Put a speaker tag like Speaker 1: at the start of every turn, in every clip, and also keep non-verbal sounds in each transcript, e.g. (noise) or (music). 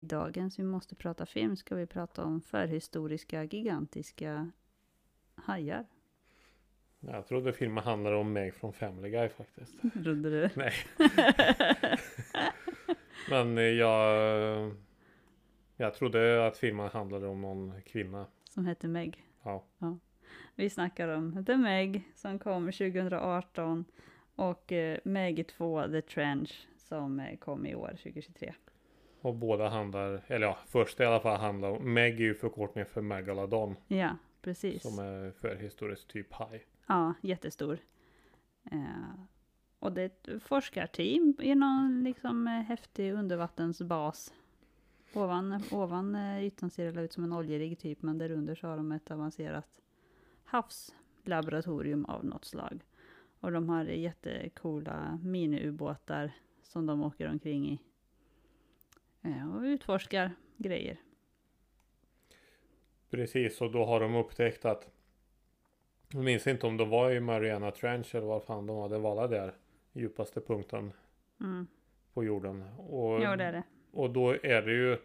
Speaker 1: dagens Vi måste prata film ska vi prata om förhistoriska, gigantiska hajar.
Speaker 2: Jag trodde filmen handlade om mig från Family Guy faktiskt.
Speaker 1: Trodde du?
Speaker 2: Nej. Men eh, jag, jag trodde att filmen handlade om någon kvinna.
Speaker 1: Som heter Meg.
Speaker 2: Ja.
Speaker 1: Vi snackar om The Meg som kom 2018 och eh, Meg 2 The Trench som eh, kom i år 2023.
Speaker 2: Och båda handlar, eller ja, första i alla fall handlar om, Meg är ju förkortningen för Megalodon.
Speaker 1: Ja, precis.
Speaker 2: Som är förhistorisk typ haj.
Speaker 1: Ja, jättestor. Eh, och det är ett forskarteam i någon liksom eh, häftig undervattensbas. Ovan, ovan eh, ytan ser det ut som en oljerigg typ, men där under så har de ett avancerat havslaboratorium av något slag. Och de har jättecoola miniubåtar som de åker omkring i. Eh, och utforskar grejer.
Speaker 2: Precis, och då har de upptäckt att jag minns inte om de var i Mariana Trench eller var fan de hade varit där. Djupaste punkten
Speaker 1: Mm.
Speaker 2: på jorden. Och,
Speaker 1: Jo, det är det.
Speaker 2: och då är det ju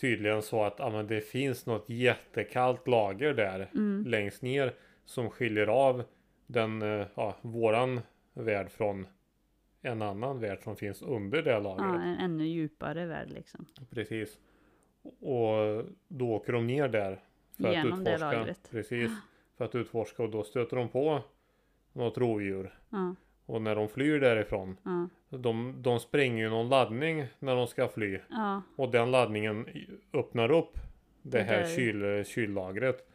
Speaker 2: tydligen så att ja, men det finns något jättekallt lager där
Speaker 1: Mm.
Speaker 2: längst ner som skiljer av den, eh, ja, våran värld från en annan värld som finns under det lagret.
Speaker 1: Ja, en ännu djupare värld liksom.
Speaker 2: Precis. Och då åker de ner där. För att
Speaker 1: Genom det
Speaker 2: utforska.
Speaker 1: lagret. Ah.
Speaker 2: Precis. För att utforska och då stöter de på något rovdjur.
Speaker 1: Ja,
Speaker 2: Och när de flyr därifrån.
Speaker 1: ja,
Speaker 2: De, de spränger ju någon laddning när de ska fly.
Speaker 1: ja.
Speaker 2: Och den laddningen öppnar upp det
Speaker 1: Det
Speaker 2: här
Speaker 1: där.
Speaker 2: kyl, kyllagret.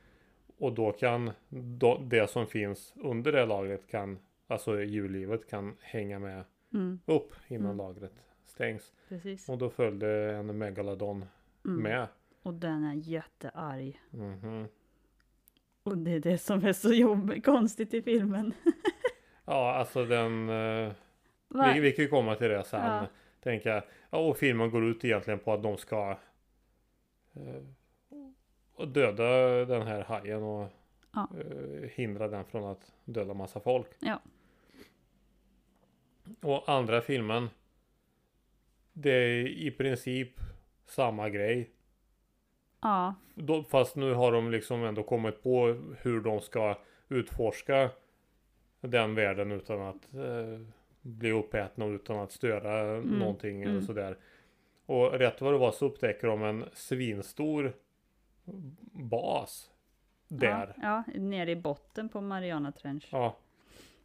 Speaker 2: Och då kan då, det som finns under det lagret kan, alltså djurlivet kan hänga med
Speaker 1: Mm,
Speaker 2: upp innan
Speaker 1: Mm.
Speaker 2: lagret stängs.
Speaker 1: precis.
Speaker 2: Och då följde en megalodon
Speaker 1: Mm.
Speaker 2: med.
Speaker 1: Och den är jättearg.
Speaker 2: Mhm.
Speaker 1: Och det är det som är så jobb- konstigt i filmen.
Speaker 2: Ja, alltså den... eh,
Speaker 1: (laughs) Va?
Speaker 2: vi, vi kan ju komma till det sen.
Speaker 1: Ja.
Speaker 2: Tänka, ja, och filmen går ut egentligen på att de ska eh, och döda den här hajen och
Speaker 1: Ja.
Speaker 2: eh, hindra den från att döda massa folk.
Speaker 1: Ja.
Speaker 2: Och andra filmen, det är i princip samma grej.
Speaker 1: Ja,
Speaker 2: Då- Fast nu har de liksom ändå kommit på hur de ska utforska den världen utan att eh, bli uppätna och utan att störa någonting eller
Speaker 1: mm.
Speaker 2: sådär. Och rätt vad det var så upptäcker de en svinstor bas där.
Speaker 1: Ja, ja, nere i botten på Mariana Trench.
Speaker 2: Ja.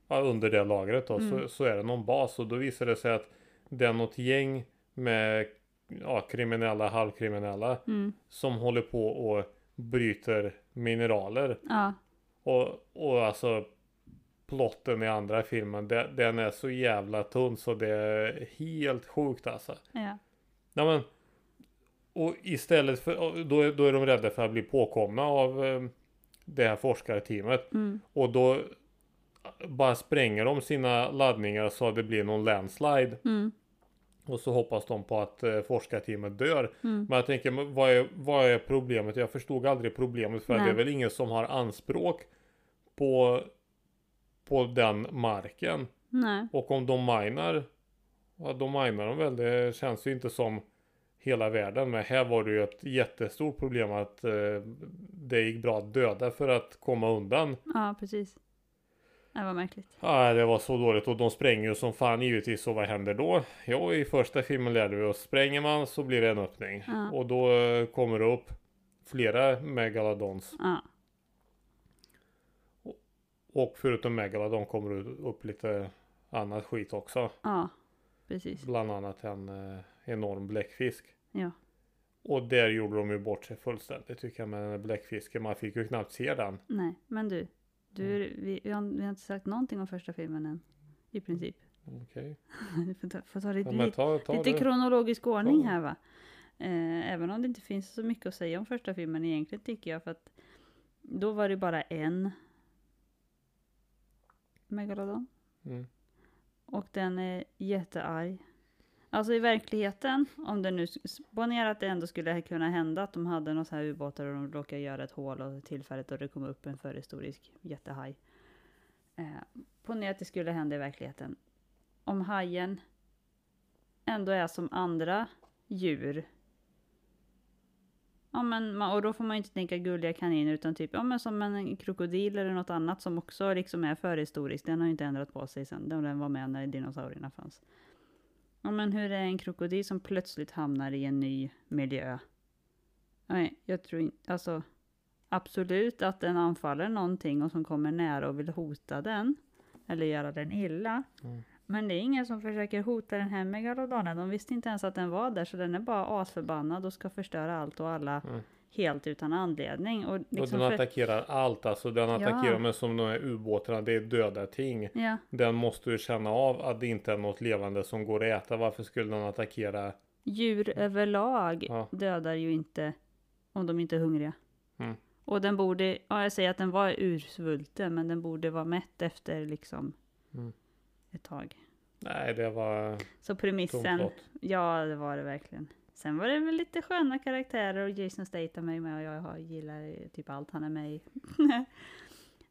Speaker 2: ja under det lagret då så,
Speaker 1: Mm.
Speaker 2: så är det någon bas och då visar det sig att det är något gäng med ja, kriminella, halvkriminella
Speaker 1: Mm,
Speaker 2: som håller på och bryter mineraler.
Speaker 1: ja,
Speaker 2: Och, och alltså plotten i andra filmen, de- den är så jävla tunn så det är helt sjukt alltså.
Speaker 1: ja,
Speaker 2: Nej, men, och istället för, och då, är- då är de rädda för att bli påkomna av eh, det här forskarteamet.
Speaker 1: mm,
Speaker 2: Och då bara spränger de sina laddningar så att det blir någon landslide.
Speaker 1: mm,
Speaker 2: Och så hoppas de på att eh, forskarteamet dör.
Speaker 1: mm.
Speaker 2: Men jag tänker, men vad är, vad är problemet? Jag förstod aldrig problemet för
Speaker 1: Nej.
Speaker 2: det är väl ingen som har anspråk på, på den marken.
Speaker 1: Nej,
Speaker 2: Och om de minar, ja då minar de väl. Det känns ju inte som hela världen. Men här var det ju ett jättestort problem att eh, det gick bra att döda för att komma undan.
Speaker 1: ja precis. Det var märkligt.
Speaker 2: Ah, det var så dåligt och de spränger ju som fan givetvis. Och vad händer då? Jo, i första filmen lärde vi oss. Spränger man så blir det en öppning.
Speaker 1: Ja.
Speaker 2: Och då eh, kommer det upp flera megalodons.
Speaker 1: Ja,
Speaker 2: Och förutom megalodon kommer det upp lite annat skit också.
Speaker 1: ja, precis.
Speaker 2: Bland annat en eh, enorm bläckfisk.
Speaker 1: Ja,
Speaker 2: Och där gjorde de ju bort sig fullständigt tycker jag med den där bläckfisken. Man fick ju knappt se den.
Speaker 1: nej, men du. du
Speaker 2: Mm.
Speaker 1: vi, vi, har, vi har inte sagt någonting om första filmen än. I princip. (laughs)
Speaker 2: Okej.
Speaker 1: Du får ta, får ta det
Speaker 2: Ja,
Speaker 1: lite-
Speaker 2: men ta, ta
Speaker 1: Lite
Speaker 2: det.
Speaker 1: kronologisk ordning
Speaker 2: Ja.
Speaker 1: här va. Eh, även om det inte finns så mycket att säga om första filmen egentligen tycker jag för att då var det bara en Megalodon.
Speaker 2: Mm.
Speaker 1: Och den är jättearg. Alltså i verkligheten, om det nu, ponera att det ändå skulle kunna hända att de hade några så här ubåtar och de råkade göra ett hål och tillfället och det kom upp en förhistorisk jättehaj. Eh, ponera att det skulle hända i verkligheten. Om hajen ändå är som andra djur Ja, men, ma- och då får man ju inte tänka gulliga kaniner utan typ ja, men som en krokodil eller något annat som också liksom är förhistoriskt. Den har ju inte ändrat på sig sedan den var med när dinosaurierna fanns. Ja, men hur är en krokodil som plötsligt hamnar i en ny miljö? Nej, jag tror inte, alltså absolut att den anfaller någonting och som kommer nära och vill hota den eller göra den illa.
Speaker 2: Mm.
Speaker 1: Men det är ingen som försöker hota den här megalodonen. De visste inte ens att den var där så den är bara asförbannad och ska förstöra allt och alla
Speaker 2: Mm.
Speaker 1: helt utan anledning. Och liksom
Speaker 2: och den
Speaker 1: för,
Speaker 2: attackerar allt, alltså den attackerar men som de här ubåtarna, det är döda ting.
Speaker 1: ja,
Speaker 2: Den måste ju känna av att det inte är något levande som går att äta. Varför skulle den attackera?
Speaker 1: djur överlag
Speaker 2: Mm. Ja.
Speaker 1: dödar ju inte om de inte är hungriga.
Speaker 2: Mm.
Speaker 1: Och den borde, ja jag säger att den var ursvulten men den borde vara mätt efter liksom
Speaker 2: Mm.
Speaker 1: ett tag.
Speaker 2: Nej, det var
Speaker 1: Så
Speaker 2: tomt
Speaker 1: premissen,
Speaker 2: prat.
Speaker 1: Ja, det var det verkligen. Sen var det väl lite sköna karaktärer och Jason Statham är ju med och jag har- gillar ju typ allt han är med i. (laughs)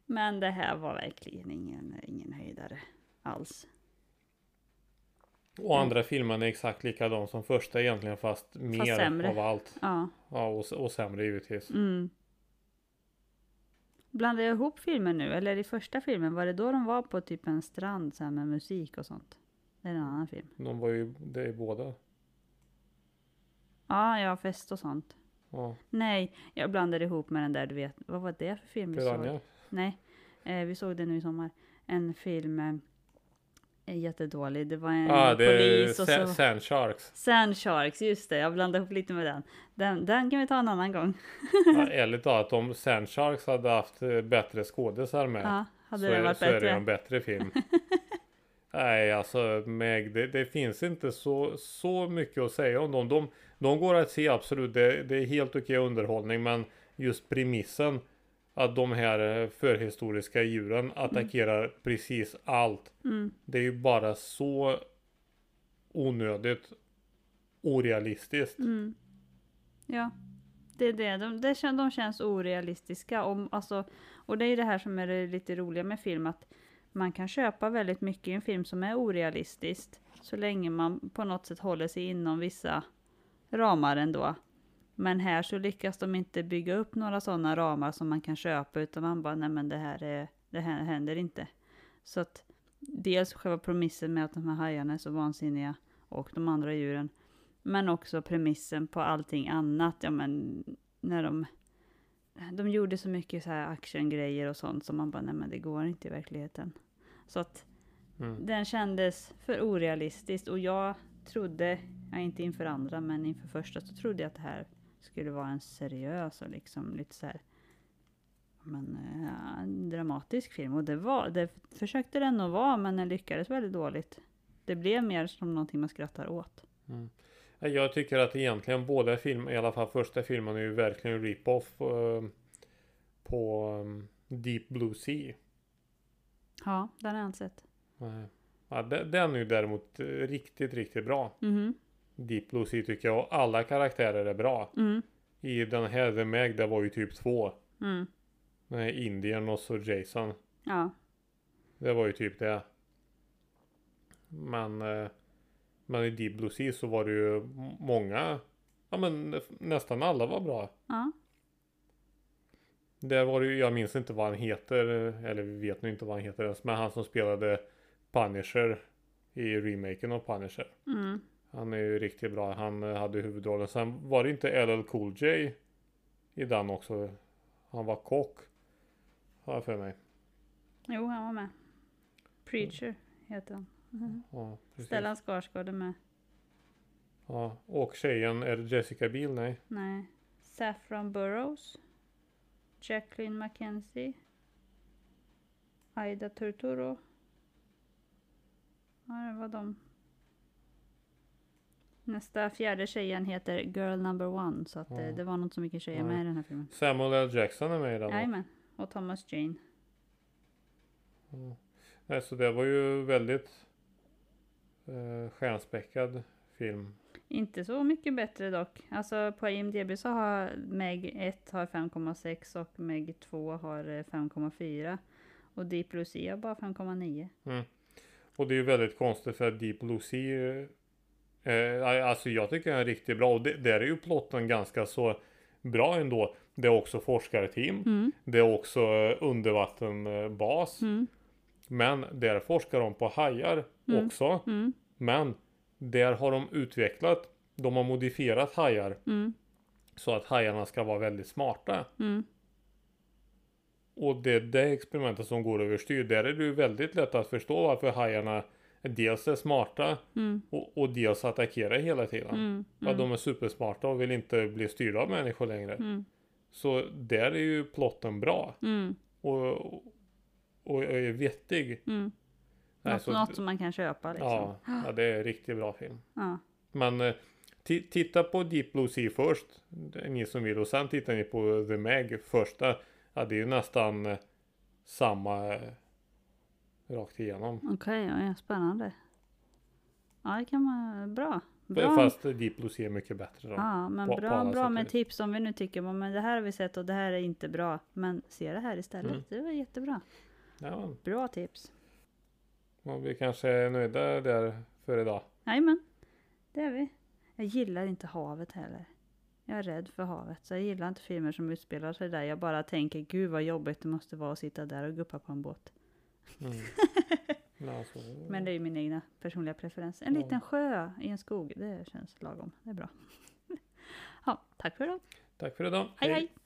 Speaker 1: Men det här var verkligen ingen, ingen höjdare alls. Mm.
Speaker 2: Och andra filmen är exakt likadan som första egentligen fast mer
Speaker 1: sämre.
Speaker 2: av allt.
Speaker 1: Ja,
Speaker 2: Ja, och, s- och sämre givetvis.
Speaker 1: mm. Blandade jag ihop filmen nu? Eller i första filmen, var det då de var på typ en strand så här med musik och sånt? Det är en annan film.
Speaker 2: De var ju, det är båda.
Speaker 1: Ja, ja, fest och sånt.
Speaker 2: Ja,
Speaker 1: Nej, jag blandade ihop med den där du vet, vad var det för film vi såg?
Speaker 2: Piranha.
Speaker 1: Nej, eh, vi såg det nu i sommar. En film, eh, är jättedålig. Det var en
Speaker 2: Ja, Ah, det är
Speaker 1: Eh, polis och
Speaker 2: Sa-
Speaker 1: så... (laughs)
Speaker 2: Sand Sharks.
Speaker 1: Sand Sharks, just det. Jag blandade ihop lite med den. Den, den kan vi ta en annan gång.
Speaker 2: Ja, ärligt talat, om Sand Sharks hade haft eh, bättre skådisar med.
Speaker 1: Ja, hade
Speaker 2: så,
Speaker 1: den
Speaker 2: är,
Speaker 1: varit
Speaker 2: så är det ju
Speaker 1: bättre?
Speaker 2: en
Speaker 1: (laughs)
Speaker 2: bättre film. Nej, alltså Meg, det, det finns inte så, så mycket att säga om dem. De, de går att se absolut, det, det är helt okej underhållning, men just premissen att de här eh, förhistoriska djuren attackerar precis allt.
Speaker 1: Mm.
Speaker 2: Det är ju bara så onödigt orealistiskt.
Speaker 1: Mm. Ja, det är det. De, det kän, de känns orealistiska. Och, alltså, och det är ju det här som är det lite roliga med film, att man kan köpa väldigt mycket i en film som är orealistiskt, så länge man på något sätt håller sig inom vissa ramar ändå. Men här så lyckas de inte bygga upp några sådana ramar som man kan köpa, utan man bara, nej men det här, är, det här händer inte. Så att dels själva premissen med att de här hajarna är så vansinniga, och de andra djuren, men också premissen på allting annat. Ja, men när de, de gjorde så mycket så här actiongrejer och sånt som man bara, nej men det går inte i verkligheten. Så att
Speaker 2: Mm.
Speaker 1: den kändes för orealistiskt och jag trodde, ja, inte inför andra men inför första så trodde jag att det här skulle vara en seriös och liksom lite så här men, ja, en dramatisk film och det var, det försökte den nog vara men den lyckades väldigt dåligt. Det blev mer som någonting man skrattar åt.
Speaker 2: Jag tycker att egentligen båda filmerna, i alla fall första filmen, är ju verkligen rip-off eh, på eh, Deep Blue Sea.
Speaker 1: Ja, den har jag inte sett.
Speaker 2: Nej. Ja, de- den är ju däremot eh, riktigt, riktigt bra.
Speaker 1: Mhm.
Speaker 2: Deep Blue Sea tycker jag och alla karaktärer är bra.
Speaker 1: Mm.
Speaker 2: I den här The Meg, det var ju typ två.
Speaker 1: Mm.
Speaker 2: Den här Indien och så Jason.
Speaker 1: Ja.
Speaker 2: Det var ju typ det. Men, eh, men i Deep Blue Sea så var det ju m- många, ja men nästan alla var bra.
Speaker 1: ja.
Speaker 2: Där var det ju, jag minns inte vad han heter, eller vi vet nu inte vad han heter ens, men han som spelade Punisher i remaken av Punisher.
Speaker 1: Mm.
Speaker 2: Han är ju riktigt bra. Han eh, hade huvudrollen. Sen var det inte LL Cool J i den också. Han var kock. Har jag för mig.
Speaker 1: Jo, han var med. Preacher heter han.
Speaker 2: Ja, precis.
Speaker 1: Stellan Skarsgård är med.
Speaker 2: Ja. Och tjejen, är det Jessica Biel? Nej.
Speaker 1: Nej. Saffron Burrows. Jacqueline Mackenzie. Aida Turturro. Ja, det var de. Nästa fjärde tjejen heter Girl Number One, så att eh,
Speaker 2: Ja.
Speaker 1: det var inte så mycket tjejer
Speaker 2: Nej.
Speaker 1: med i den här filmen.
Speaker 2: Samuel L. Jackson är med i den. också.
Speaker 1: Jajamän. Och Thomas Jane.
Speaker 2: Nej, så det var ju väldigt eh, stjärnspäckad film.
Speaker 1: Inte så mycket bättre dock. Alltså på IMDB så har Meg 1 har 5,6 och Meg 2 har eh, 5,4. Och Deep Blue Sea har bara 5,9.
Speaker 2: Och det är ju väldigt konstigt för att Deep Blue Sea eh, eh, Alltså jag tycker den är riktigt bra och det, där är ju plotten ganska så bra ändå. Det är också forskarteam.
Speaker 1: Mm.
Speaker 2: Det är också eh, undervattenbas.
Speaker 1: Mm.
Speaker 2: Men där forskar de på hajar
Speaker 1: Mm.
Speaker 2: också.
Speaker 1: Mm.
Speaker 2: Men där har de utvecklat, de har modifierat hajar
Speaker 1: Mm.
Speaker 2: så att hajarna ska vara väldigt smarta.
Speaker 1: Mm.
Speaker 2: Och det är det experimentet som går överstyr. Där är det ju väldigt lätt att förstå varför hajarna dels är smarta
Speaker 1: Mm.
Speaker 2: och, och dels attackerar hela tiden.
Speaker 1: Mm.
Speaker 2: Att de är supersmarta och vill inte bli styrda av människor längre.
Speaker 1: Mm.
Speaker 2: Så där är ju plotten bra
Speaker 1: Mm.
Speaker 2: och, och är vettig.
Speaker 1: Mm.
Speaker 2: Nej,
Speaker 1: Något,
Speaker 2: så-
Speaker 1: något som man kan köpa liksom.
Speaker 2: Ja, ja, det är en riktigt bra film.
Speaker 1: Ja.
Speaker 2: Men eh, ti- titta på Deep Blue Sea först, det är ni som vill. Och sen tittar ni på The Meg första. Ja, det är ju nästan eh, samma eh, rakt igenom.
Speaker 1: Okej, ja, spännande. Ja, det kan vara bra. bra.
Speaker 2: Fast Deep Blue Sea är mycket bättre då.
Speaker 1: ja, men
Speaker 2: på- på
Speaker 1: bra,
Speaker 2: alla sätt
Speaker 1: bra
Speaker 2: och
Speaker 1: med
Speaker 2: vis.
Speaker 1: tips om vi nu tycker men det här har vi sett och det här är inte bra. Men se det här istället.
Speaker 2: Mm.
Speaker 1: Det var jättebra.
Speaker 2: Ja,
Speaker 1: Bra tips.
Speaker 2: men vi kanske är nöjda där för idag.
Speaker 1: Jajamän, det är vi. Jag gillar inte havet heller. Jag är rädd för havet, så jag gillar inte filmer som utspelar sig där. Jag bara tänker, gud vad jobbigt det måste vara att sitta där och guppa på en båt. (laughs)
Speaker 2: Mm. Ja, så.
Speaker 1: Men det är ju min egna personliga preferens. En
Speaker 2: Ja.
Speaker 1: liten sjö i en skog, det känns lagom. Det är bra. (laughs) ja, tack för idag.
Speaker 2: Tack för idag.
Speaker 1: Hej hej!